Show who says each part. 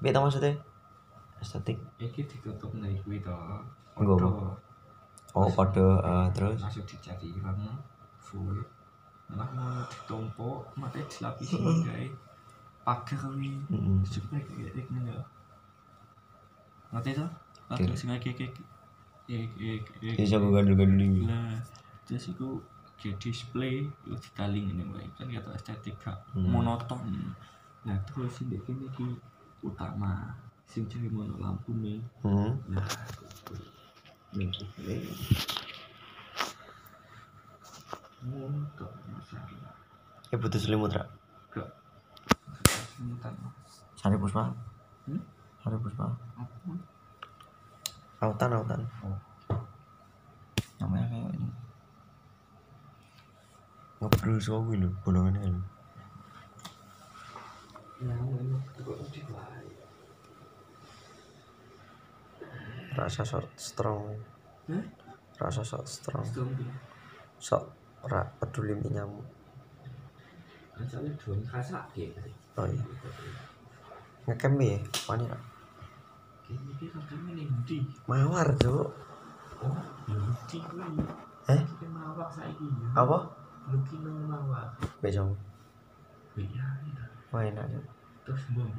Speaker 1: Piye to maksudnya? Estetik.
Speaker 2: Iki ditutup nih kuwi to.
Speaker 1: Nggo.
Speaker 2: Padha.
Speaker 1: Oh,
Speaker 2: Masuk-
Speaker 1: pada eh, terus.
Speaker 2: Masuk dicari ilmu full. Malah mau ditumpuk, mate dilapisi
Speaker 1: Hmm.
Speaker 2: nggae pager kuwi.
Speaker 1: Mm-mm.
Speaker 2: Sebenarnya kayak kayak gini ya. Ngerti toh? Pager sing kayak kayak kayak kayak kayak-
Speaker 1: Bisa gue gandul-gandul ini.
Speaker 2: Nah, terus iku kayak display itu ditali ngene wae kan kata estetika
Speaker 1: Hmm.
Speaker 2: monoton. Nah, terus sing iki iki utama sing cari mono lampu nih.
Speaker 1: Hmm.
Speaker 2: Nah, ning iki. Monoton masalah.
Speaker 1: Ya butuh selimut ra.
Speaker 2: Gak. Semutan.
Speaker 1: Sari Puspa.
Speaker 2: Hmm?
Speaker 1: Sari Puspa.
Speaker 2: Apa?
Speaker 1: Autan, autan.
Speaker 2: Oh.
Speaker 1: Namanya kayak ini. Ngobrol sama gue lho, bolongannya lho.
Speaker 2: Nah, ini kok mesti wae.
Speaker 1: Rasa short strong.
Speaker 2: Hah?
Speaker 1: Rasa short strong.
Speaker 2: Stone.
Speaker 1: Sok ra peduli mie nyamuk.
Speaker 2: Asalnya dua kasak ya.
Speaker 1: Oh iya. Ngekem ya, wani ra.
Speaker 2: Ini kan kami nanti.
Speaker 1: Mawar, Cuk.
Speaker 2: Oh, Lucky kuwi.
Speaker 1: Eh?
Speaker 2: Kita mawak saiki.
Speaker 1: Apa?
Speaker 2: Lucky nang mawak.
Speaker 1: Besok.
Speaker 2: Iya, iya.
Speaker 1: Wah enak, Cuk.
Speaker 2: Terus mbok